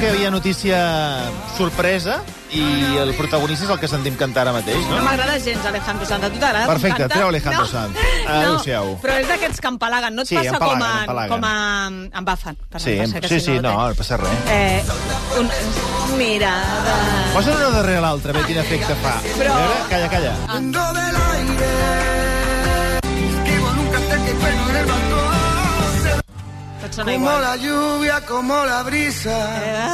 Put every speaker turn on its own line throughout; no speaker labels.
que hi ha notícia sorpresa i el protagonista és el que sentim cantar ara mateix,
No
no?
m'agrada gens, Alejandro Sanz. A tu t'agrada
Perfecte,
cantar?
treu Alejandro Sanz. Adéu-siau.
No, però és d'aquests que empalaguen. No et
Sí,
passa com
empalaguen,
a...
empalaguen.
Com a embafen. Perdó,
Sí,
passa que
sí,
si
sí, no,
ho
no passa res.
tens. Eh, un, mirada...
Posa una darrere l'altra, a veure quin efecte fa.
Però-
A veure, calla, calla.
Mundo del aire, esquivo nunca te que freno en el balcón.
Tots sona
Como
igual.
la lluvia, como la brisa.
Eh,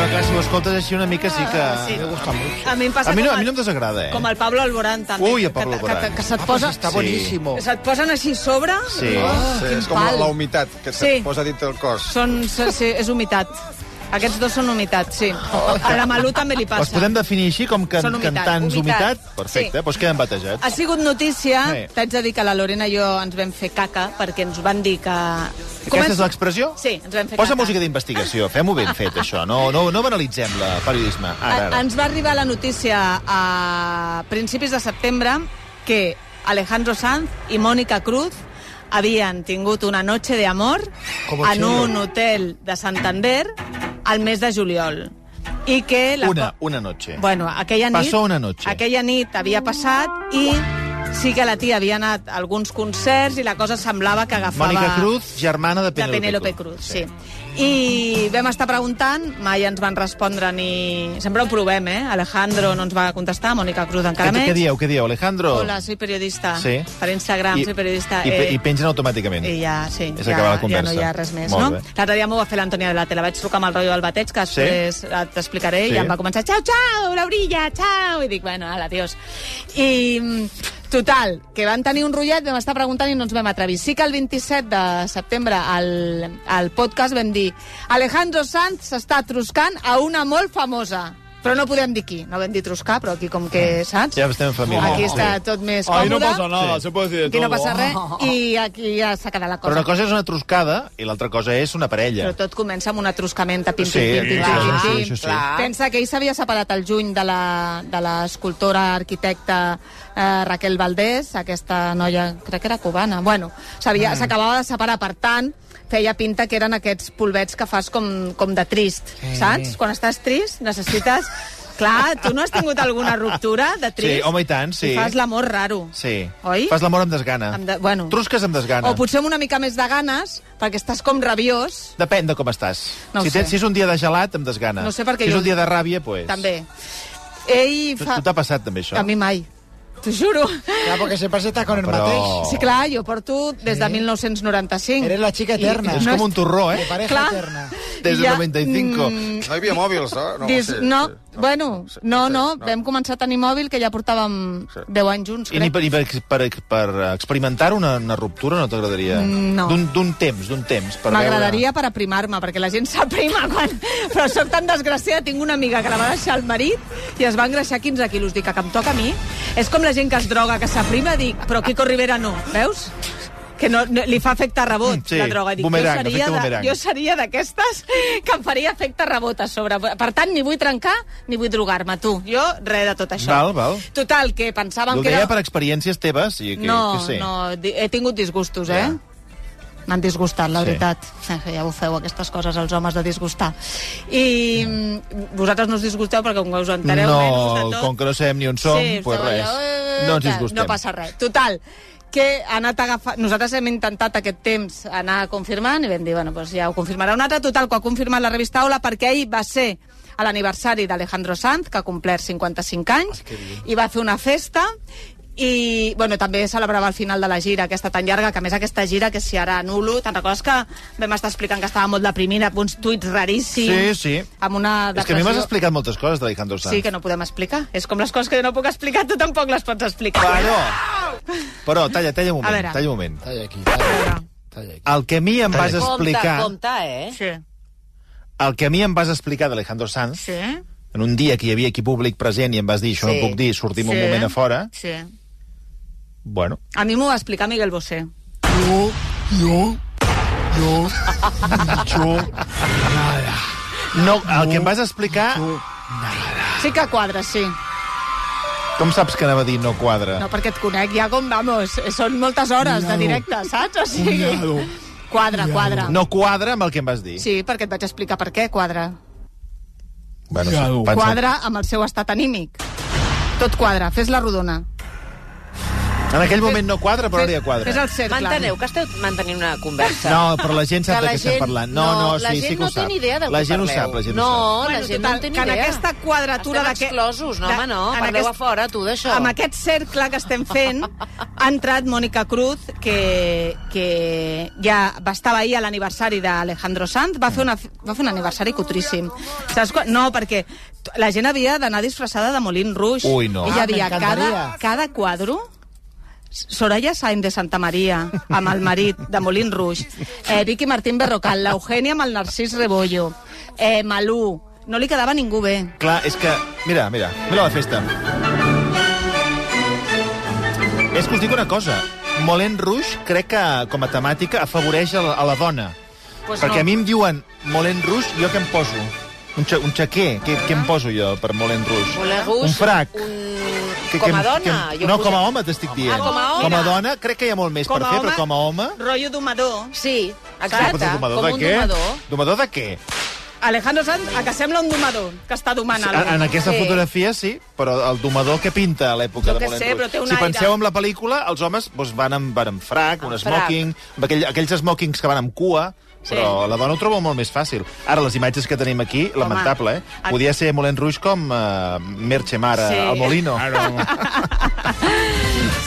Però clar, si ho escoltes així una mica sí que...
Ah, Sí.
Em gusta molt.
A mi em passa
a mi no,
com
a mi
el-
no em desagrada, eh?
com el Pablo Alborán, també.
Ui, el Pablo
que- que-
Alborán.
Que, que, se't posa... Oh,
Está buenísimo.
Que se't posen així sobre...
Sí.
Sí, és com la,
pal.
la humitat que se
Sí.
posa dintre el cos.
Són, s- sí, és humitat. Aquests dos són humitat, sí. A la Malú també li
Oh. Els
passa.
podem definir així com can,
Són humitat.
cantants
Humitat.
humitat? Perfecte,
Sí. Ah,
doncs queden batejats.
Ha sigut notícia,
Sí.
t'haig de dir que la Lorena i jo ens vam fer caca perquè ens van dir que...
Aquesta és l'expressió?
Sí, ens vam fer
Posa
caca.
música d'investigació, fem-ho ben fet, això. No, no, no banalitzem la periodisme. Ara,
A-
ara.
Ens va arribar la notícia a principis de setembre que Alejandro Sanz i Mònica Cruz havien tingut una noche de amor
Como
en
chulo.
un hotel de Santander al mes de juliol. I que la
Una, una noche.
Bueno, aquella nit...
Pasó una noche.
Aquella nit havia passat i sí que la tia havia anat a alguns concerts i la cosa semblava que agafava...
Mònica Cruz, germana de
De
Penélope,
Penélope Cruz, sí. I vam estar preguntant, mai ens van respondre ni... Sempre ho provem, eh? Alejandro no ens va contestar, Mònica Cruz
Què,
encara més.
què dieu, què dieu, Alejandro?
Hola, soy periodista.
Sí.
Per Instagram, soy periodista.
I,
eh,
I pengen automàticament.
i ja, sí,
És
ja,
acabar la
ja
conversa.
no hi ha res més,
Molt
no?
bé.
L'altre dia m'ho va fer l'Antònia de la Tele. Vaig trucar amb el rotllo del bateig, que després sí? t'explicaré,
Sí.
i em va començar, xau, xau, Laurilla, xau, i dic, bueno, ala, adiós. I, mm, total, que van tenir un rotllet, vam estar preguntant i no ens vam atrevir. Sí que el 27 de setembre al, al podcast vam dir Alejandro Sanz s'està truscant a una molt famosa. Però no podem dir qui. No vam dir truscar, però aquí com que, saps?
Ja estem en família.
Aquí
Sí.
està tot més còmode.
nada, se
puede decir
Aquí no
oh.
passa res i aquí ja s'ha quedat la cosa.
Però una cosa és una truscada i l'altra cosa és una parella.
Però tot comença amb un atruscament de pim,
Sí,
pim, pim, pim,
clar,
pim,
sí,
pim,
això sí.
pim. Pensa que ell s'havia separat el juny de la- de l'escultora, arquitecta eh, Raquel Valdés, aquesta noia, crec que era cubana. Bueno,
Mm.
s'havia- s'acabava de separar, per tant, feia pinta que eren aquests polvets que fas com, com de trist, saps? Quan estàs trist necessites... Clar, tu no has tingut alguna ruptura de trist?
Sí, home, i tant, sí.
I fas l'amor raro.
Sí.
Oi?
Fas l'amor amb desgana.
Amb de- bueno.
Trusques amb desgana.
O potser amb una mica més de ganes, perquè estàs com rabiós,
Depèn de com estàs.
No ho
si, tens,
sé.
si és un dia de gelat, em desgana.
No sé perquè
si és
jo-
un dia de ràbia, pues...
també. Ell
Tu
fa...
tu t'ha passat, també, això?
A mi mai. T'ho juro.
Claro, porque siempre se está con el
Pero-
mateix.
Sí, clar, jo porto des de 1995.
Eres la chica eterna.
És com un torró, eh?
De pareja
Clar.
eterna.
Des del
Ja, mm,
95.
No hi havia mòbils, eh? no?
No, Dis...
sí,
no,
sí,
bueno,
sí,
no,
sí,
no, vam començar a tenir mòbil que ja portàvem
Sí.
10 anys junts,
I ni
crec.
per, i per, per, per experimentar una, una ruptura no t'agradaria?
Mm, no.
D'un- D'un temps, d'un temps. per
M'agradaria per aprimar-me, perquè la gent s'aprima quan... Però sóc tan desgraciada, tinc una amiga que la va deixar el marit i es va engreixar 15 quilos. Dic, "A que em toca a mi. És com la gent que es droga, que s'aprima, dic, però Quico Rivera no, veus? Que no, no, li fa efecte rebot,
Sí,
la droga. Dic,
bumerang,
jo seria
efecte
de-
bumerang.
jo seria d'aquestes que em faria efecte rebot a sobre. Per tant, ni vull trencar ni vull drogar-me, tu. Jo, res de tot això.
Val, val.
Total, que
veure-
pensaven
Jo ho
que
deia
era...
per experiències teves. I que,
No,
que sé.
no, di- he tingut disgustos, eh?
Ja.
M'han disgustat, la
Sí.
sí. veritat. Eh, Ja ho feu, aquestes coses, els homes de disgustar. I mm, vosaltres no us disgusteu perquè com que us entereu menys de
No,
tot...
com que no sabem ni on som,
sí,
pues
esteu
res.
allò, eh,
no ens
tal,
disgustem.
No passa res. Total, que ha anat agafant... Nosaltres hem intentat aquest temps anar confirmant i vam dir, bueno, doncs ja ho confirmarà un altre. Total, que ho ha confirmat la revista Ola perquè ahir va ser a l'aniversari d'Alejandro Sanz, que ha complert 55
Ah,
anys, i va fer una festa i, bueno, també celebrava el final de la gira, aquesta tan llarga, que a més aquesta gira, que si ara nulo, te'n recordes que vam estar explicant que estava molt deprimida, amb uns tuits raríssims,
Sí, sí.
amb una
És que a mi m'has explicat moltes coses d'Alejandro Sanz.
Sí, que no podem explicar. És com les coses que jo no puc explicar, tu tampoc les pots explicar.
Però, però talla, talla un
A
moment,
veure.
talla un moment.
Talla aquí, talla aquí. Talla aquí.
El que a mi em vas explicar,
Compte, compte, eh?
Eh? Sí.
el que a mi em vas explicar d'Alejandro Sanz,
Sí.
en un dia que hi havia aquí públic present i em vas dir, això
Sí.
no puc dir, sortim un
Sí.
moment a fora,
Sí.
bueno,
A mi m'ho va explicar Miguel Bosé.
Yo, yo, yo, yo,
no, el que em vas explicar,
yo.
Sí que quadra, sí.
com saps que anava a dir no quadra?
No, perquè et conec ja com, vamos, són moltes hores de directe, saps? O sigui...
Cuñado,
Quadra, quadra.
No quadra amb el que em vas dir.
Sí, perquè et vaig explicar per què quadra.
Bueno,
Ja,
sí,
ho-
pensa-
Quadra amb el seu estat anímic. Tot quadra, fes-la rodona.
En aquell moment no quadra, però ara ja quadra.
Fes el cercle.
M'enteneu que esteu mantenint una conversa.
No, però la gent sap
Que
de
la
què estem
gent-
parlant. No, no,
la
sí,
gent
sí que
no
ho sap.
té ni idea del
la
que
gent ho
parleu.
sap, la gent
no,
ho sap.
la
Bueno,
gent
total,
no en té ni
que en
idea.
aquesta quadratura
Estem
d'aquest-
exclosos, no,
de-
home, no.
en
Parleu
aquest-
a fora, tu, d'això.
Amb aquest cercle que estem fent ha entrat Mònica Cruz, que, que ja va estar ahir a l'aniversari d'Alejandro Sanz, va fer, una, va fer un aniversari cutríssim. Saps quan? No, perquè t- la gent havia d'anar disfressada de Molin Rouge.
Ui, no.
Ella
Ah,
havia cada,
m'encantaria.
cada quadro Soraya Sainz de Santa Maria amb el marit de Molin Rouge, eh, Vicky Martín Berrocal, l'Eugènia amb el Narcís Rebollo, eh, Malú, no li quedava ningú bé.
Clar, és que... Mira, mira, mira la festa. És que us dic una cosa. Molen Rouge crec que, com a temàtica, afavoreix a la, a la dona.
Pues
Perquè
no.
a mi em diuen Molen Rouge, jo què em poso? Un, xa, un xaquer, què, què em poso jo per Molen Rouge?
Voler gust,
Un frac.
Un...
Que-
com a
que-
dona.
Que,
jo
no,
em
com a
posa-
home t'estic dient.
com a home.
Com a dona crec que hi ha molt més per fer, però com a home...
Rotllo domador.
Sí,
Però
exacte.
domador
Com
de
un
què?
domador.
Domador de què?
Alejandro Sanz, a que sembla un domador, que està domant
En, en
alguna cosa.
aquesta
Sí.
fotografia sí, però el domador que pinta a l'època
Jo
de
què
Moulin
sé,
Rouge.
però té un
si
aire.
penseu en la pel·lícula, els homes doncs, van, amb, van amb frac,
Amb
un
frac.
smoking, amb aquell, aquells smokings que van amb cua,
Sí.
però la dona ho troba molt més fàcil. Ara, les imatges que tenim aquí, lamentable, eh?
a-
Podia ser Moulin Rouge com uh, Merche Mare,
Sí.
al Molino.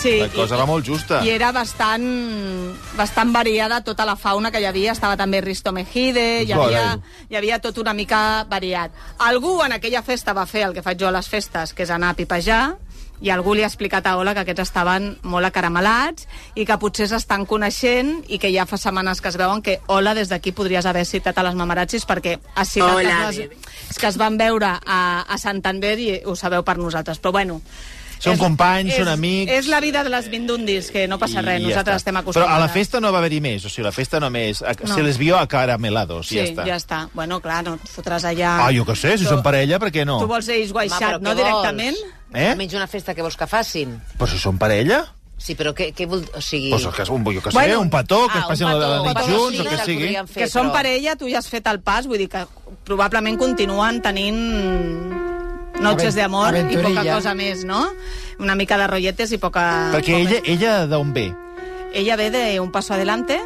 Sí,
La cosa va molt justa.
i era bastant, bastant variada tota la fauna que hi havia. Estava també Risto Mejide, hi havia, hi havia tot una mica variat. Algú en aquella festa va fer el que faig jo a les festes, que és anar a pipejar, i algú li ha explicat a Ola que aquests estaven molt acaramelats i que potser s'estan coneixent i que ja fa setmanes que es veuen que Ola des d'aquí podries haver citat a les mamarazzis perquè ha citat que,
Hola,
es, les- que es van veure a, a Santander i ho sabeu per nosaltres. Però bueno...
Són
és-
companys,
és,
són amics.
És la vida de les Vindundis, que no passa res,
I està.
nosaltres estem
Però
acostumades.
a la festa no va haver-hi més, o sigui, la festa només... A,
No.
Se les vio acaramelados, i
Sí,
ja està.
ja està. Bueno, clar, no et fotràs allà...
Ah, jo què sé, si
Tu-
són parella, per què no?
Tu vols ells guaixat,
Home, però
no,
què
directament?
vols?
Eh?
Almenys una festa que vols que facin.
Però si són parella?
Sí, però què, què vol... O sigui...
Pues que, un, jo que sé,
Bueno,
un petó, que
ah,
es passin
un
la, la
petó,
nit
un petó,
junts,
sí,
el que
la
sigui.
podríem fer,
que són
però-
parella, tu ja has fet el pas, vull dir que probablement continuen tenint noches
Avent-
d'amor i poca
aventurilla.
cosa més, no? Una mica de rotlletes i poca...
Perquè
poca-
ella, ella d'on ve?
Ella ve de un paso adelante.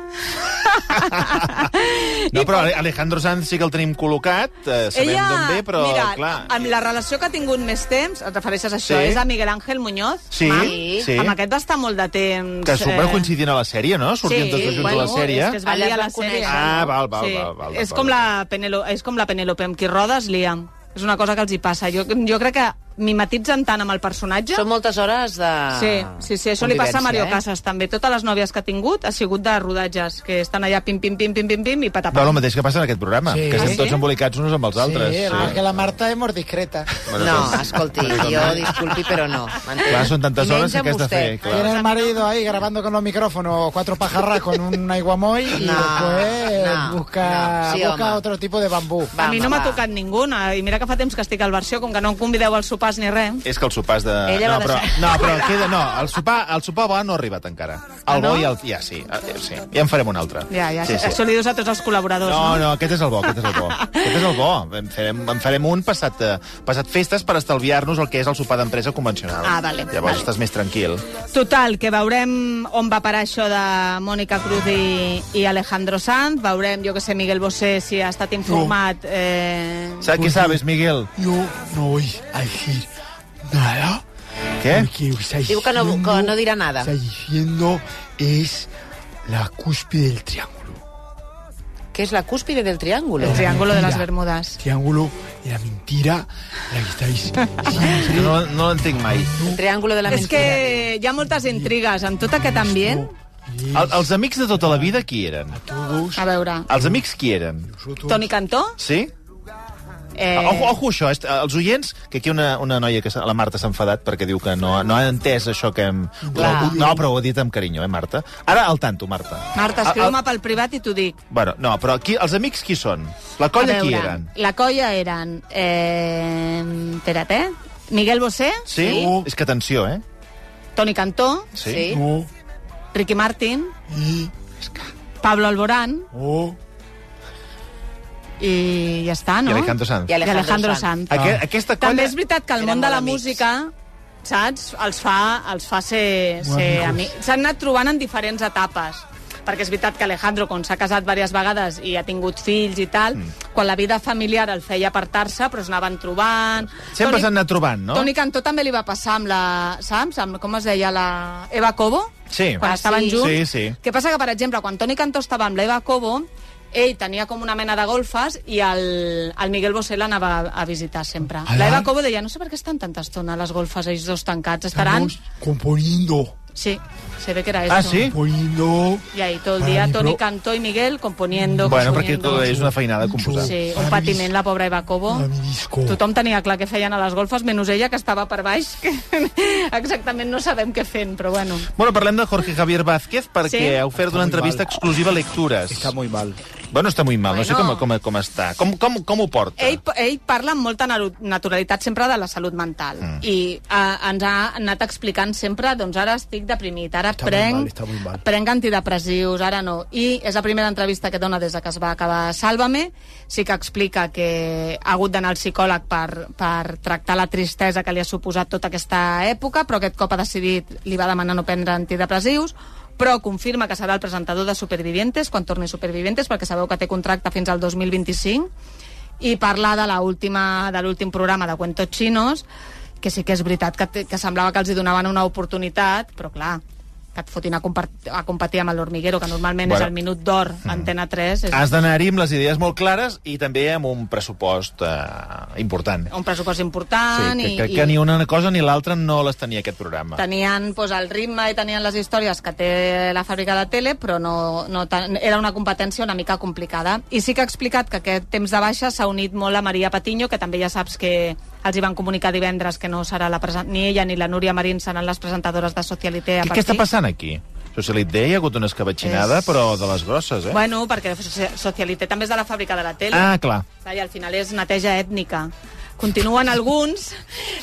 No, però Ale- Alejandro Sanz sí que el tenim col·locat, eh, sabem
ella,
d'on ve, però
mira,
clar...
amb la relació que ha tingut més temps, et refereixes a això,
Sí.
és a Miguel Ángel Muñoz.
Sí,
Mam.
sí.
Amb aquest va estar molt de temps.
Que s'ho van
eh,
coincidir a la sèrie, no? Sortien
sí,
tots dos junts
bueno,
a la sèrie.
És que es van
Allà es
liar a la
van
sèrie.
conèixer,
Ah, val, val, val, val,
és,
val,
com
val.
la Penelo, és com la Penelope amb qui rodes, lia. És una cosa que els hi passa. Jo, jo crec que mimetitzen tant amb el personatge...
Són moltes hores de...
Sí, sí, sí, això li passa a Mario
convivència, eh?
Casas també. Totes les nòvies que ha tingut ha sigut de rodatges, que estan allà pim, pim, pim, pim, pim, pim i patapam.
Però el mateix que passa en aquest programa,
Sí.
que
Ah,
estem
sí?
tots embolicats uns amb els altres.
Sí, sí. que la Marta és molt discreta.
Bueno,
no,
doncs-
escolti,
doncs-
jo disculpi, però no. m'entén?
Clar, són tantes
I menys
hores que
amb
què has de
vostè.
fer,
Tiene
clar.
el marido ahí grabando con los micrófonos cuatro pajarras con un aiguamoy y
No,
después
no,
busca,
no. Sí,
busca
home.
otro tipo de bambú.
Va,
a mi no
home,
m'ha
va.
tocat ninguna, i mira que fa temps que estic al versió, com que no em convideu als sopars ni res.
És que el sopar és de...
Ella
no,
va
però,
deixar-
no, però queda, no, el sopar, el sopar bo no ha arribat encara. El bo i el... Ja, sí, eh, sí. ja en farem un altre.
Ah, Ja, ja,
sí, sí.
això li dius a tots els col·laboradors,
No,
no?
no, aquest és el bo, aquest és el bo. Aquest és el bo. En farem, en farem un passat, eh, passat festes per estalviar-nos el que és el sopar d'empresa convencional.
Ah, vale,
Llavors
vale.
estàs més tranquil.
Total, que veurem on va parar això de Mònica Cruz i, i Alejandro Sanz, veurem, jo que sé, Miguel Bosé, si ha estat informat... Eh...
Saps què sabes, Miguel?
Yo no voy a decir nada.
¿Qué?
Porque está
Digo que no-
diciendo-
que no dirá nada.
Está diciendo es la cúspide del triángulo.
Què és la cúspide del triàngulo?
El
La
triángulo de las
mentira.
Bermudas.
Triángulo de la mentira, la que estáis siempre.
No, no l'entenc mai.
El triàngulo de la
És
mentida.
que hi ha moltes intrigues en tot aquest ambient.
Esto
El, els amics de tota la vida qui eren?
es Todos
A veure,
Els amics qui eren?
nosotros.
Toni Cantó...
Sí?
Eh...
Ojo, ojo això, est- els oients, que aquí una, una noia, que s'ha- la Marta s'ha enfadat perquè diu que no, no ha entès això que hem...
Clar.
No, però ho ha dit amb carinyo, eh, Marta? Ara al tanto, Marta.
Marta,
El-
escriu-me
el-
pel privat i t'ho dic.
Bueno, no, però qui, els amics qui són? La colla
A
qui
veure,
eren?
La colla eren... Eh... Espera't, eh? Miguel Bosé,
Sí?
Sí.
És que atenció, eh?
Toni Cantó,
Sí.
No,
Ricky Martin,
y
Paco Pablo Alborán
Oh.
i ja està, no?
I Alejandro Sanz.
I
I Alejandro Sanz.
Aquest, aquesta colla...
Ah. També és veritat que el
Eren
món de la
molt amics.
música, saps, els fa, els fa ser,
Molt
ser
amigos.
amics. S'han anat trobant en diferents etapes. Perquè és veritat que Alejandro, com s'ha casat diverses vegades i ha tingut fills i tal, mm. quan la vida familiar el feia apartar-se, però s'anaven trobant...
Sempre
Toni-
s'han anat trobant, no?
Toni Cantó també li va passar amb la... Saps? Amb, com es deia? La Eva Cobo?
Sí.
Quan
Ah,
estaven
sí.
junts.
Sí, sí.
Què passa que, per exemple, quan Toni Cantó estava amb l'Eva Cobo, ell tenia com una mena de golfes i el, el Miguel Bosé l'anava a, a visitar sempre.
Ah,
L'Eva
ja?
Cobo deia, no sé per què estan tanta estona a les golfes, ells dos tancats, estaran...
Estamos componiendo.
Sí, se ve que era
Ah,
eso.
sí?
Componiendo.
I ahí todo el día
Para mi
Toni
pro-
Cantó i Miguel componiendo,
Bueno, perquè
componiendo.
tot és una feinada composar. Sí.
Sí,
Para
un
mi
patiment,
disc-
la pobra Eva Cobo.
Para mi disco.
Tothom tenia clar què feien a les golfes, menys ella, que estava per baix. Que exactament no sabem què fent, però bueno.
Bueno, parlem de Jorge Javier Vázquez perquè
Sí.
ha ofert una entrevista exclusiva a Lectures.
Está muy mal.
Bueno, està molt mal, no sé com,
Bueno.
com, com està. Com, com, com ho porta?
Ell, ell parla amb molta naru- naturalitat sempre de la salut mental mm. i eh, ens ha anat explicant sempre doncs ara estic deprimit, ara
Està molt mal,
prenc,
està molt mal.
prenc antidepressius, ara no. I és la primera entrevista que dona des de que es va acabar Sálvame. Sí que explica que ha hagut d'anar al psicòleg per, per tractar la tristesa que li ha suposat tota aquesta època, però aquest cop ha decidit, li va demanar no prendre antidepressius, però confirma que serà el presentador de Supervivientes quan torni Supervivientes, perquè sabeu que té contracte fins al 2025 i parlar de la última- de l'últim programa de Cuentos Chinos, que sí que és veritat que, te- que semblava que els hi donaven una oportunitat, però clar, que et fotin a, compar- a competir amb l'Hormiguero, que normalment
Bueno. Mm-hmm. Ah.
és el minut d'or, Antena 3, és
Has d'anar-hi amb les idees molt clares i també amb un pressupost eh, important.
un pressupost
Sí,
important.
que,
i,
que,
Ah, i...
que ni una cosa ni l'altra no les tenia aquest programa.
Tenien pues, el ritme i tenien les històries que té la fàbrica de tele, però no, no tan... era una competència una mica complicada. I sí que ha explicat que aquest temps de baixa s'ha unit molt a Maria Patiño, que també ja saps que els hi van comunicar divendres que no serà la present... ni ella ni la Núria Marín seran les presentadores de Socialité. a
Què, què està
partir-
passant aquí? Socialit Day hi ha hagut una escabatxinada,
És-
però de les grosses, eh?
Bueno, perquè Soci- Socialité també és de la fàbrica de la tele.
Ah, clar.
Clar, I al final és neteja ètnica. Continuen alguns.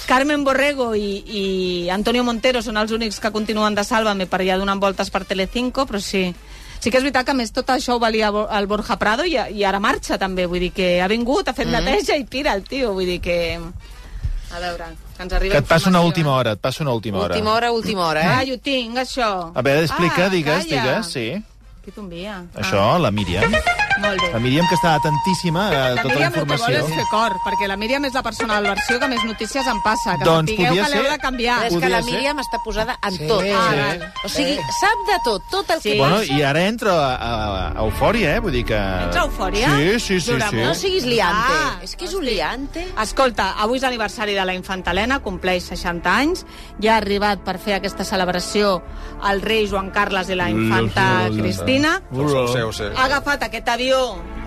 Carmen Borrego i, i Antonio Montero són els únics que continuen de Sálvame per allà donant voltes per Telecinco, però sí... Sí que és veritat que, a més, tot això ho valia Bo- el Borja Prado i, i ara marxa, també. Vull dir que ha vingut, ha fet
Mm-hmm.
neteja i tira el tio. Vull dir que... A veure, que ens arriba
Que et passa una
informació,
última
eh?
hora, et passa una última hora.
Última hora, última hora,
Ah,
eh?
jo tinc, això.
A veure, explica,
ah,
digues,
calla. Ah.
digues, sí.
Qui t'envia?
Això, la Míriam.
Ah, molt bé.
La Míriam, que està atentíssima a
La
tota la
Míriam el que vol
informació.
és fer cor, perquè la Míriam és la persona del versió que més notícies em passa, que
Doncs
sapigueu
podia
que l'heu
ser-
de canviar.
Però és que la
Podria ser.
Míriam està posada en
Sí.
tot.
Ah,
Sí.
val.
O sigui, sap de tot, tot el que
Sí.
Bueno,
passa.
i ara entra a, a, a Eufòria, eh? Vull dir que...
Entra a Eufòria?
Sí, sí, sí.
Durant
sí.
No siguis liante.
Ah,
és que és un liante.
Escolta, avui és l'aniversari de la infanta Helena, compleix 60 anys, ja ha arribat per fer aquesta celebració el rei Joan Carles i la infanta Cristina.
Ho sé, ho sé.
Ha agafat aquest avió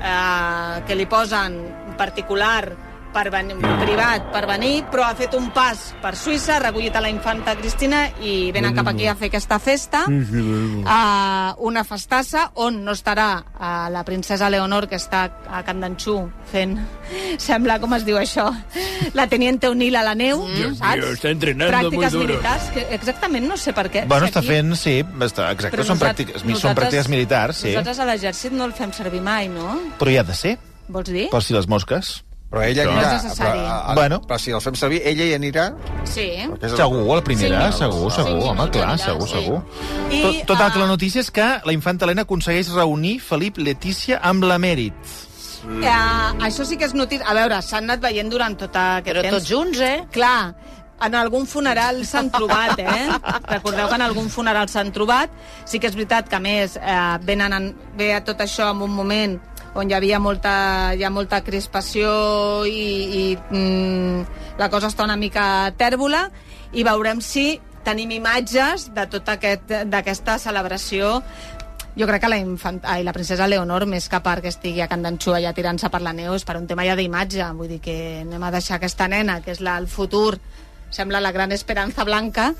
eh, que li posen particular per venir,
Ah.
privat per venir, però ha fet un pas per Suïssa, ha recollit a la infanta Cristina i venen cap aquí a fer aquesta festa, eh, una festassa on no estarà eh, la princesa Leonor, que està a Can d'Anxú fent, sembla, com es diu això, la teniente Unil a la neu, saps?
Mm. mío, está entrenando
Pràctiques
muy duro.
militars, que exactament no sé per què.
Bueno,
Si
està
Eh, aquí-
fent, sí, està, exacte, són,
nosat-
pràctiques, són pràctiques militars, sí.
Nosaltres a l'exèrcit no el fem servir mai, no?
Però hi ha de ser,
Vols dir?
per si les mosques.
Però ella
No és
anirà...
necessari.
però, a- a-
Bueno.
Però si els fem servir, ella hi anirà...
Sí.
Perquè és el-
Segur, a la primera,
Sí,
segur,
sí,
segur,
sí,
home,
sí,
clar,
sí,
segur,
sí.
segur.
I,
Tot, tota
ah,
la notícia és que la infanta Helena aconsegueix reunir Felip Letícia amb la Mèrit.
Eh, això sí que és notícia. A veure, s'han anat veient durant tot aquest
Però
temps.
tots junts, eh?
Clar, en algun funeral s'han trobat, eh? Recordeu que en algun funeral s'han trobat. Sí que és veritat que, a més, eh, venen en, ve a tot això en un moment on hi havia molta, hi ha molta crispació i, i mm, la cosa està una mica tèrbola i veurem si tenim imatges de tota aquest, d'aquesta celebració jo crec que la, infant... Ai, la princesa Leonor, més que perquè estigui a Can d'Anxú allà tirant-se per la neu, és per un tema ja d'imatge. Vull dir que anem a deixar aquesta nena, que és la, el futur, sembla la gran esperança blanca,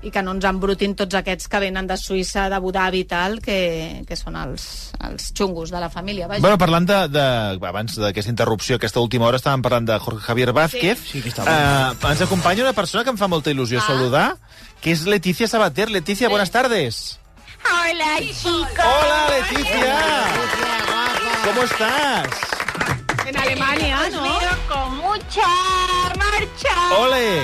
i que no ens embrutin tots aquests que venen de Suïssa, de Abu Dhabi i tal, que, que són els, els xungos de la família, vaja.
Bueno, parlant de, de abans d'aquesta interrupció, aquesta última hora, estàvem parlant de Jorge Javier Vázquez.
Sí, que està
eh, ens acompanya una persona que em fa molta il·lusió
Ah.
saludar, que és Letícia Sabater. Letícia, buenas tardes.
Hola, chicos.
Hola, Leticia! ¿Cómo estás?
En Alemania,
Os
¿no?
miro con mucha marcha.
¡Ole!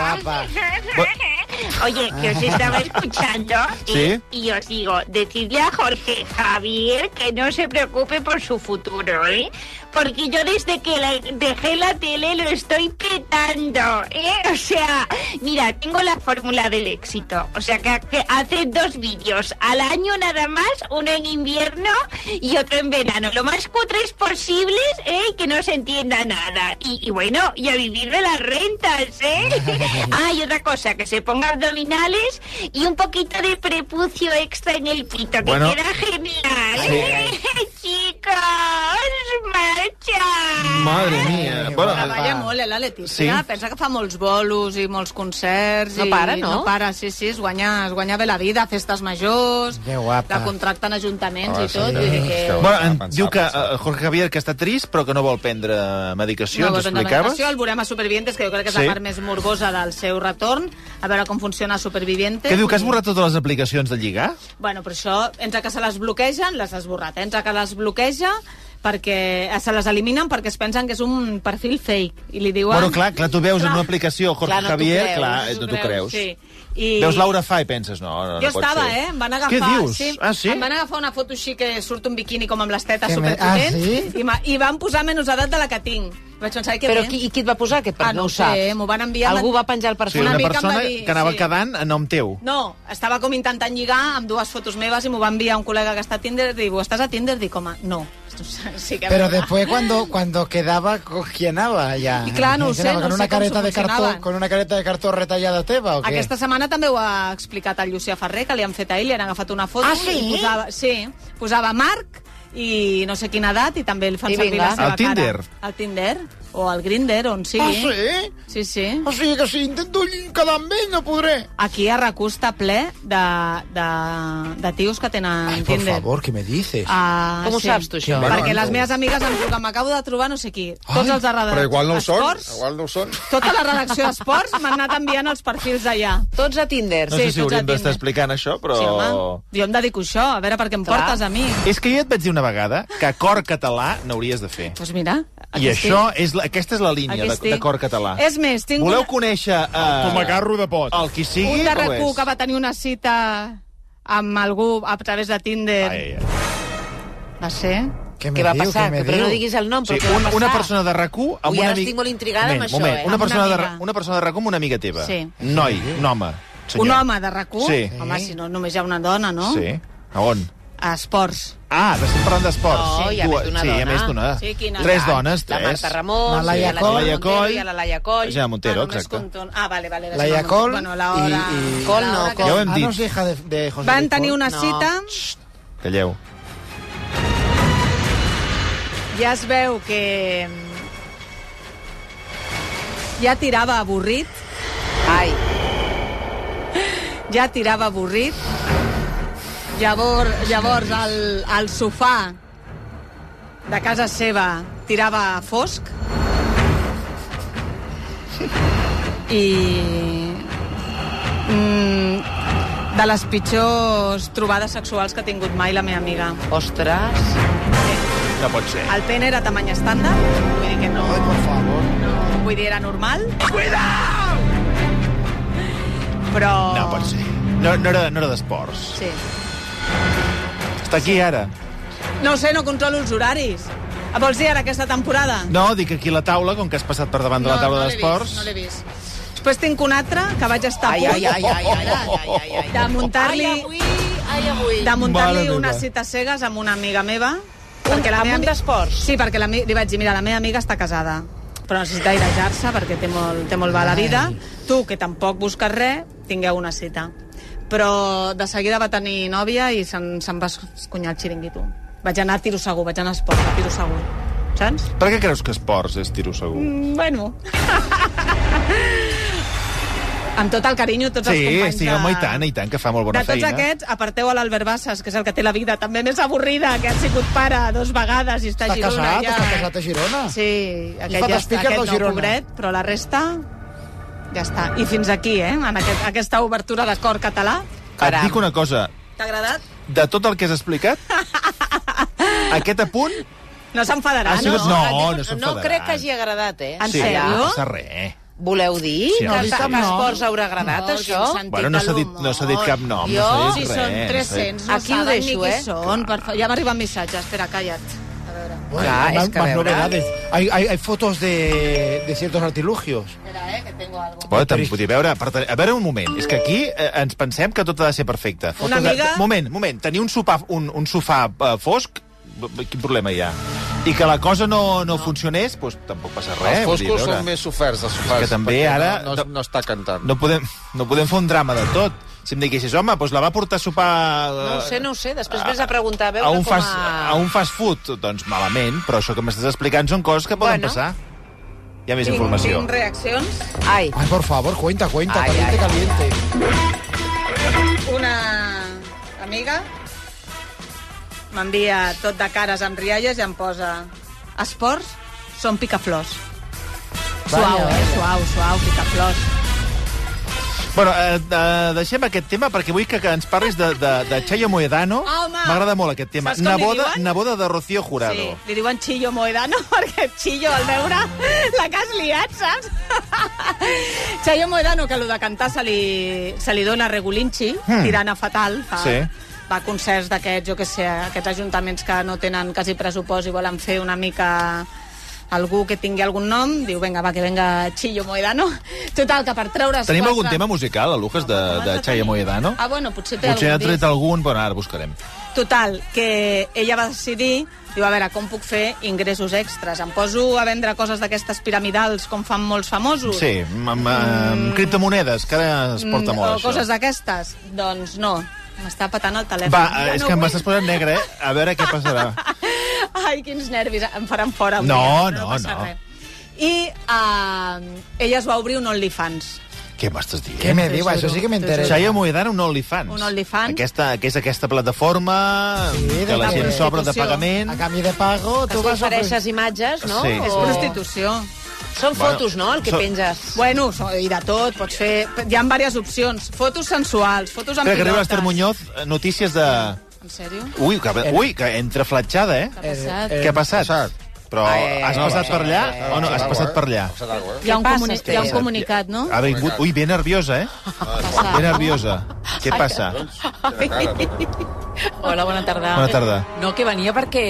guapa.
Oye, que os estaba escuchando y,
¿Sí?
y os digo, decidle a Jorge Javier que no se preocupe por su futuro, ¿eh? Porque yo desde que la- dejé la tele lo estoy petando, ¿eh? O sea, mira, tengo la fórmula del éxito. O sea, que, que hace dos vídeos al año nada más, uno en invierno y otro en verano. Lo más cutres posibles, ¿eh? Y Que no se entienda nada. Y, y bueno, y a vivir de las rentas, ¿eh? Ah, y otra cosa, que se ponga abdominales y un poquito de prepucio extra en el pito, que
Bueno.
queda genial. ¿eh? Chicos, marcha.
Madre mia. Bueno,
Treballa molt, eh, la Letícia.
Sí.
Pensa que fa molts bolos i molts concerts.
No
i
para, no?
No para, sí, sí, es guanya, es guanya bé la vida, festes majors...
Que guapa.
La contracten ajuntaments
Ah,
i tot,
sí,
vull dir que...
sí.
bueno,
Ah,
en,
pensava,
diu que
pensava.
eh, Jorge Javier que està trist però que no vol prendre medicació,
No,
ens
doncs,
explicaves?
el veurem a Supervivientes, que jo crec que és
Sí.
la part més morbosa del seu retorn. A veure com funciona Supervivientes.
Què diu, que has
I-
borrat totes les aplicacions de lligar?
Bueno, però això, entre que se les bloquegen, les has borrat. eh? Entre que les bloqueja, perquè eh, se les eliminen perquè es pensen que és un perfil fake. I li diuen...
Bueno, clar, clar, tu veus en una aplicació Jorge
Clar, no t'ho
Javier,
creus,
clar,
no
eh, no t'ho creus.
Sí. I...
Veus Laura Fa i penses, no, no, no
Jo
pot
estava,
ser.
eh? Em van agafar...
Què dius?
Sí,
Ah, sí?
Em van agafar una foto així que surt un biquini com amb les tetes
Que me-
superpotents
Ah, sí?
i, ma- i van posar menys edat de la que tinc. Vaig pensar que
Però
bé.
qui, i qui et va posar aquest
Ah,
part?
no
no
ho
ho saps.
sé, m'ho van enviar-
Algú va penjar el
O
perfil.
sigui,
una
una
mica em va
persona
dir,
que anava
sí.
quedant a nom teu.
No, estava com intentant lligar amb dues fotos meves i m'ho va enviar un col·lega que està a Tinder i diu, estàs a Tinder? Dic, home, no. Sí que
Pero
em va.
después cuando, cuando quedaba, cogianaba ya.
Y claro, no
Cogianaba
sé, no
con
sé cómo
una careta de
funcionaban.
cartón, con una careta de cartón retallada teva o qué?
Aquesta setmana també ho ha explicat el Llucià Ferrer, que li han fet a ell, li han agafat una foto.
Ah, sí?
I posava, sí, posava Marc i no sé quina edat, i també el fan
I
servir
vinga.
la seva
Al Tinder.
cara. Al Tinder, o al Grindr, on sigui.
Ah, sí?
sí? Sí, sí.
O sigui que si intento quedar amb ell no podré.
Aquí a RAC1 està ple de, de, de tios que tenen
Ay, por
Tinder.
favor, ¿qué me dices?
Ah,
Com ho saps tu, això?
Bueno,
Bueno,
Perquè
no.
les meves amigues em diuen que m'acabo de trobar no sé qui. Tots
Ai,
els de redacció
Però igual no ho són.
Esports,
Igual no ho són.
tota la redacció d'esports m'han anat enviant els perfils d'allà.
Tots a Tinder.
No sé
sí,
si
tots
hauríem
la
d'estar
tindrem.
explicant això, però...
Sí, home, jo em dedico a això, a veure per què em
Clar.
portes a mi.
És que jo et vaig dir una vegada que cor català n'hauries de fer.
Doncs pues mira, aquí
I
estic.
això és la, aquesta és la
Aquí
línia de,
estic.
de cor català.
És més, tinc
Voleu
una-
conèixer... Uh,
de pot.
El qui sigui...
un de
o
RAC1
és?
que va tenir una cita amb algú a través de Tinder.
Ai, ai, ai.
Va ser...
Què va passar? Que, però no diguis el nom,
Sí,
però què
un,
va passar?
una persona de RAC1...
Ui, ara estic molt intrigada amb
moment,
això,
moment.
eh?
Una
Amb
persona,
una
de,
amiga.
Ra- una persona de RAC1 amb una amiga teva.
Sí.
Noi, un home. Senyor.
Un home de RAC1?
Sí.
Home, si no, només hi ha una dona, no?
Sí. A on?
A esports.
Ah, estem parlant d'esports.
No, hi ha
Dues-
Oh, més d'una
sí, hi ha
dona.
més d'una.
Sí, quina
tres
edat.
dones,
La
tres.
Marta Ramon,
La Laia
sí,
Coll.
Laia Coll.
Gemma Montero i la Laia Coll.
Gemma Montero,
ah, només
exacte.
Conton... Ah, vale, vale.
Laia
Laia
Coll
Bueno, la hora...
i- i-
Coll no,
l'hora que-
Coll. Ja ho hem
Ah,
dit.
no, és hija de, de José
Van
Luis
tenir
Coll.
una
No.
cita...
Calleu.
ja es veu que ja tirava avorrit,
Ai,
ja tirava avorrit. Llavors, llavors el, el sofà de casa seva tirava fosc. I... Mm, de les pitjors trobades sexuals que ha tingut mai la meva amiga.
ostres.
No pot ser.
El pene era tamany estàndard, vull dir que no...
Ay, por favor.
No, vull dir, era normal. Cuidao! Però...
No pot ser. No, no era, no era d'esports.
Sí.
Està aquí ara.
No ho sé, no controlo els horaris. Ah, Vols dir ara aquesta temporada?
No, dic aquí la taula, com que has passat per davant de la taula
no l'he
d'esports.
vist, No l'he vist. Després tinc un altre que vaig estar
Ai,
a
ai,
punt
ai, ai, ai, ai, ai, ai.
de
Ai,
muntar-li
avui, ai, avui.
de muntar-li
Mare
una
meva.
cita a cegues amb una amiga meva. perquè la
amb
meva
un
ami-
d'esports?
Sí, perquè la, mi- li vaig dir, mira, la meva amiga està casada, però necessita airejar-se perquè té molt, té molt va la vida. Tu, que tampoc busques res, tingueu una cita. Però de seguida va tenir nòvia i se'n se va escunyar el xiringuito. Vaig anar a tiro segur, vaig anar a esport, a tiro segur. Saps?
Per què creus que esports és tiro segur?
Mm, Bueno. Amb tot el carinyo, tots els
Sí,
companys
sí,
de-
home, i tant, i tant, que fa molt
de
bona
tots
feina.
aquests, aparteu a l'Albert Bassas, que és el que té la vida també més avorrida, que ha sigut pare dos vegades i està a
Està
Girona.
casat,
ja.
està casat a Girona.
Sí,
fa
aquest, ja està,
despíquer
aquest
del
no,
Girona.
pobret, però la resta... Ja està. I fins aquí, eh, en aquest, aquesta obertura de cor català.
Et dic una cosa,
T'ha agradat?
De tot el que has explicat, aquest apunt...
No s'enfadarà,
Ha
no?
sigut- Ah, no, no
Ah, no
s'enfadaran.
crec que hagi agradat, eh?
En
sí,
sèrio?
no passa res.
Voleu dir
Sí,
que
no,
als
sí.
esports haurà agradat,
No,
això?
que ens han
Bueno, no s'ha
Antic
dit, no s'ha dit
humor.
cap nom,
Jo?
no s'ha
Si
dit
Oh, són
res.
300, no
Aquí ho
saben
deixo,
ni qui
eh?
són. Per fa... Ja m'arriben missatges. Espera, calla't. A veure.
Clar,
más,
és que a
más
veure.
novedades. Hay, hay, hay fotos de, de ciertos artilugios.
Espera, eh, que tengo algo.
Bueno, te'n podria veure. Per tant, a veure, un moment. És que aquí eh, ens pensem que tot ha de ser perfecte.
Una amiga-
Moment, moment. Tenir un, sopar, un, un sofà eh, fosc, b- b- quin problema hi ha? I que la cosa no, no, funcionés, doncs tampoc passa res.
Els
vull dir,
foscos
a veure,
són més soferts, els sofars.
que també
perquè
ara-
No, no, no està cantant.
No podem, no podem fer un drama de tot. Si em diguessis, home, doncs la va portar a sopar... eh,
No ho sé, no ho sé. Després vens a preguntar a veure
a un,
com
fast,
a...
a un fast food, doncs malament, però això que m'estàs explicant són coses que poden
Bueno.
passar. Hi ha més informació.
Tinc reaccions.
Ai,
Ay, por favor, cuenta, cuenta,
Ay,
caliente,
ay,
caliente.
Una amiga m'envia tot de cares amb rialles i em posa... Esports són picaflors. Suau, eh? Suau, suau, picaflors.
Bueno, eh, eh, deixem aquest tema perquè vull que, que ens parlis de, de, de Chayo Moedano.
Home!
M'agrada molt aquest tema.
Saps com li
Neboda,
diuen?
neboda de Rocío Jurado.
Sí, li diuen Chillo Moedano perquè Chillo al veure la que has liat, saps? Chillo Moedano, que el de cantar se li, se li dona regulinxi,
Hmm.
hmm. tirant a fatal. Fa,
Sí.
Va a concerts d'aquests, jo què sé, aquests ajuntaments que no tenen quasi pressupost i volen fer una mica algú que tingui algun nom, diu, venga, va, que venga Chillo Moedano. Total, que per treure's...
Tenim
quatre-
algun tema musical, a Lujas, de, de Chayo Moedano?
Ah, bueno, potser té
Potser ha
algun
tret
disc.
algun, però ara buscarem.
Total, que ella va decidir, diu, a veure, com puc fer ingressos extras? Em poso a vendre coses d'aquestes piramidals com fan molts famosos?
Sí, amb, amb, amb criptomonedes, que ara es porta
Mm,
molt,
o
això.
coses d'aquestes? Doncs no, m'està patant el telèfon.
Va,
Ja
eh, és
no
que
vull.
m'estàs posant negre, eh? A veure què passarà.
Ai, quins nervis, em faran fora. un
No,
dia, però
no,
passa
no.
res. I eh, ella es va obrir un OnlyFans.
Què m'estàs dient?
¿Qué me
Te
digas? Eso
juro,
sí que me
te
interesa.
Chayo Moedano, un OnlyFans.
Un OnlyFans.
Aquesta, que és aquesta plataforma
Sí,
que la
de
gent s'obre de
prostitució.
pagament.
A cambio de pago, tú
tu
vas a...
ofereixes imatges, no?
Sí.
És
Oh.
prostitució.
Són
Bueno,
fotos, no?, el que
so-
penges.
Bueno, so- i de tot, pots fer... Hi ha diverses opcions. Fotos sensuals, fotos amb
Espera, que arriba
pilotes.
l'Ester Muñoz, eh, notícies de...
En sèrio?
Ui, que, ui, que entra flatxada, eh?
Què ha passat?
Què ha passat? Però
Ai, ai, ai,
has passat
ai,
per allà
ai,
o
ai,
no?
Passarà
Has
alguna
passat
cosa,
per
eh?
allà?
Passarà alguna cosa, eh?
Hi ha un,
Què
comuni
passa,
hi ha un
Esther?
comunicat, no?
Ha vingut... Ui, ben nerviosa, eh? Ben nerviosa. Què passa?
Hola, bona tarda.
Bona tarda.
No, que venia perquè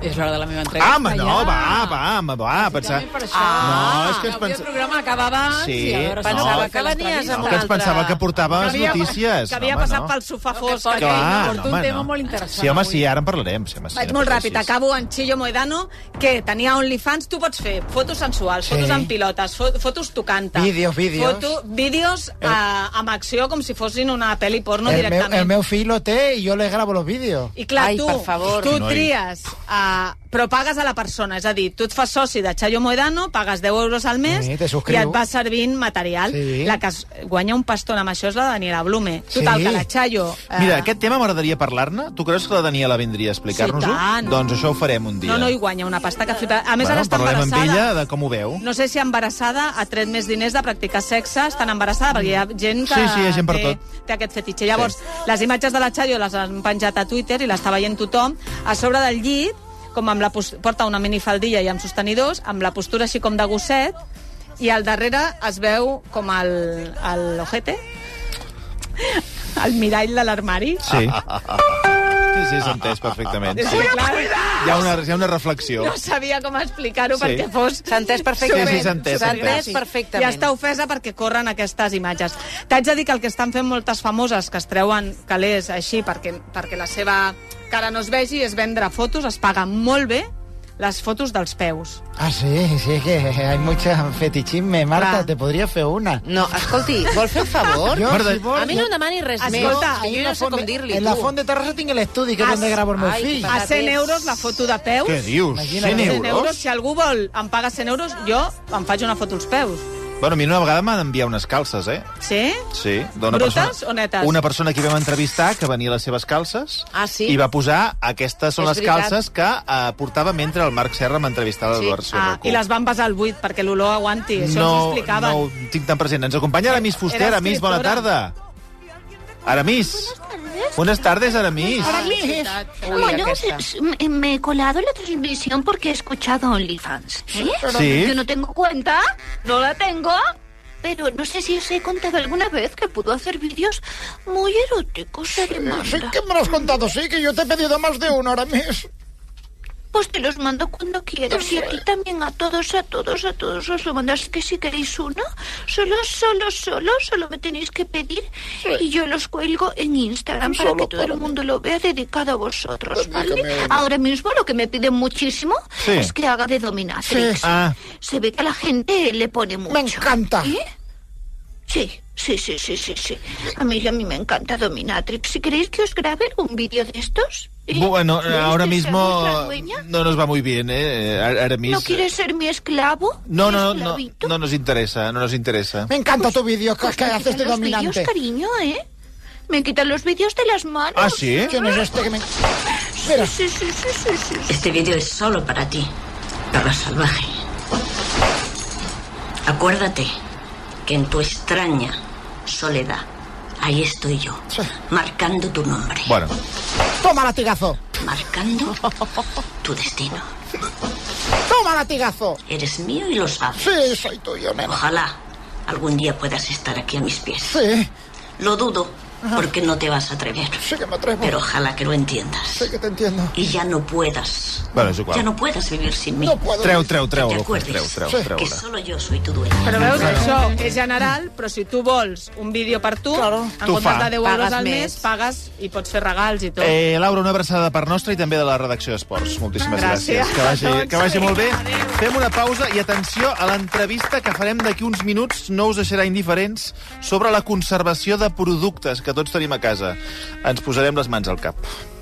és l'hora de la meva entrevista.
Ah, home, no,
ja.
va, va, home, va, pensar...
Ah,
Precisament Per això.
No, és que
que
ens
avui el
pensava...
programa acaba abans
Sí,
i a veure si
pensava
no,
que
venies amb
No, que ens pensava que
Ah,
portaves notícies.
Que havia
No, home,
passat
no.
pel
No,
sofà
que
fosc.
porta-
aquell.
Clar,
porto un
home,
tema
no.
molt interessant
Sí, home,
avui.
sí, ara en parlarem. Sí, home, sí,
Vaig
no
molt
pateixis.
ràpid, acabo en Chillo Moedano, que tenia OnlyFans. Tu pots fer fotos sensuals,
Sí.
fotos amb pilotes, fo fotos tocant-te.
Vídeos, vídeos.
Foto, vídeos eh, amb acció com si fossin una pel·li porno
el, meu,
directament.
el meu fill lo té i jo le grabo los vídeos.
I clar,
Ai,
tu,
per favor.
tu
Noi.
tries, uh, però pagues a la persona. És a dir, tu et fas soci de Chayo Moedano, pagues 10 euros al mes
Sí, te
i
subscriu.
et va servint material.
Sí.
La que es guanya un paston amb això és la Daniela Blume.
Sí.
Total, que la Chayo... eh,
Mira, aquest tema m'agradaria parlar-ne. Tu creus que la Daniela vindria a explicar-nos-ho?
Sí, tant.
Doncs això ho farem un dia.
No, no hi guanya una pasta que flipa. A més,
bueno,
ara està
parlarem
embarassada.
amb ella de com ho veu.
No sé si embarassada ha tret més diners de practicar sexe, estan embarassada, perquè hi ha gent que
Sí, sí, hi ha gent per
té,
tot.
té aquest fetitxe. Llavors, les imatges de la Chayo les han penjat a Twitter i l'està veient tothom. A sobre del llit, com amb la pos- porta una minifaldilla i amb sostenidors, amb la postura així com de gosset, i al darrere es veu com el, el ojete, el mirall de l'armari.
Sí. Sí, sí, s'ha entès perfectament.
És
Sí.
que, clar,
Hi ha una, hi ha una reflexió.
no sabia com explicar-ho
Oh. Sí.
perquè fos...
S'ha entès perfectament.
Sí, sí, s'ha entès,
S'ha
s'ha entès.
entès perfectament.
Ja està ofesa perquè corren aquestes imatges. T'haig de dir que el que estan fent moltes famoses que es treuen calés així perquè, perquè la seva cara no es vegi és vendre fotos, es paguen molt bé les fotos dels peus.
Ah, sí, sí, es que hay mucha fetichisme. Marta,
Clar.
te podría hacer una.
No, escolti, vol fer un favor?
Jo,
Marta,
si vols,
A mi no em demani res
Escolta,
més.
ahí
que jo
en
ja
la
no sé com
font de-
dir-li,
En la
tu.
font de Terrassa tinc el estudi que és
Ah,
on grabo el meu
ai,
fill.
que
A 100
Patatets.
euros la foto de peus.
Què dius?
Imagina't.
100
100 euros?
euros?
Si algú vol, em paga 100 euros, jo em faig una foto als peus.
Bueno, a mi una vegada m'han enviat unes calces, eh?
Sí?
Sí. d'una
Brutes
persona,
o netes?
Una persona que vam entrevistar, que venia a les seves calces,
Ah, sí?
i va posar aquestes són
És
les
veritat.
calces que eh, portava mentre el Marc Serra m'entrevistava a
Sí.
l'Eduard
Ah,
Sorroco.
I les van basar al buit perquè l'olor aguanti. Això ens ho
no,
explicaven.
no ho tinc tan present. Ens acompanya Aramis Fuster.
Era
Aramis, bona
escriptora.
tarda. Aramis. Buenes tardes, Aramis.
Ui,
bueno,
aquesta.
s- me- me he colado en la transmisión porque he escuchado OnlyFans. ¿eh?
Sí.
Yo no tengo cuenta, no la tengo, pero no sé si os he contado alguna vez que puedo hacer vídeos muy eróticos, además.
Ah, Sí que me lo has contado, sí, que yo te he pedido más de uno ahora mismo.
Pues te los mando cuando quieras y a ti también, a todos, a todos, a todos os lo mando. Así que si queréis uno, solo, solo, solo, solo me tenéis que pedir y yo los cuelgo en Instagram para que todo el mundo lo vea dedicado a vosotros, ¿vale? Ahora mismo lo que me piden muchísimo
Sí.
es que haga de dominatrix.
Sí.
Ah,
Se ve que a la gente le pone mucho.
Me encanta.
¿Eh? Sí, sí, sí, sí, sí, sí. A mí, a mí me encanta Dominatrix. Si queréis que os grabe un vídeo de estos. ¿eh?
bueno,
¿Queréis
ahora
que
mismo
seamos la dueña?
no nos va muy bien, ¿eh? Ar- Aramis.
¿No quieres ser mi esclavo?
No,
¿Mi
no, no,
esclavito?
no nos interesa, no nos interesa.
Me encanta tu vídeo que, que
Me
haces
quitan
de
los vídeos,
dominante.
cariño, ¿eh? Me quitan los vídeos de las manos.
Ah, ¿sí?
¿Quién es este que me... Mira,
Sí, sí, sí, sí, sí.
Este vídeo es solo para ti, perro salvaje. Acuérdate que en tu extraña soledad, ahí estoy yo, marcando tu nombre,
Bueno,
toma latigazo.
marcando tu destino.
Toma latigazo.
Eres mío y lo sabes.
Sí, soy tuyo, nena.
Ojalá algún día puedas estar aquí a mis pies.
Sí,
Lo dudo, porque no te vas a atrever.
sí que me atrevo.
Pero ojalá que lo entiendas.
Sí que te entiendo.
Y ya no puedas.
bueno, és igual.
Ya no puedas vivir sin mí.
No puedo.
Treu, treu, treu,
Que te
treu, treu,
acuerdes
treu, treu,
que solo yo soy tu dueño.
Però veus, això és general, però si tu vols un vídeo per tu, claro. en
Tu
comptes
fa.
de 10 euros
Pagues
al
més.
mes, pagues i pots fer regals i tot.
Eh, Laura, una abraçada per nostra i també de la redacció d'Esports. Moltíssimes gràcies.
Gràcies.
Que vagi, que vagi
Doncs,
molt bé.
adéu.
Fem una pausa i atenció a l'entrevista que farem d'aquí uns minuts, no us deixarà indiferents, sobre la conservació de productes que tots tenim a casa. Ens posarem les mans al cap.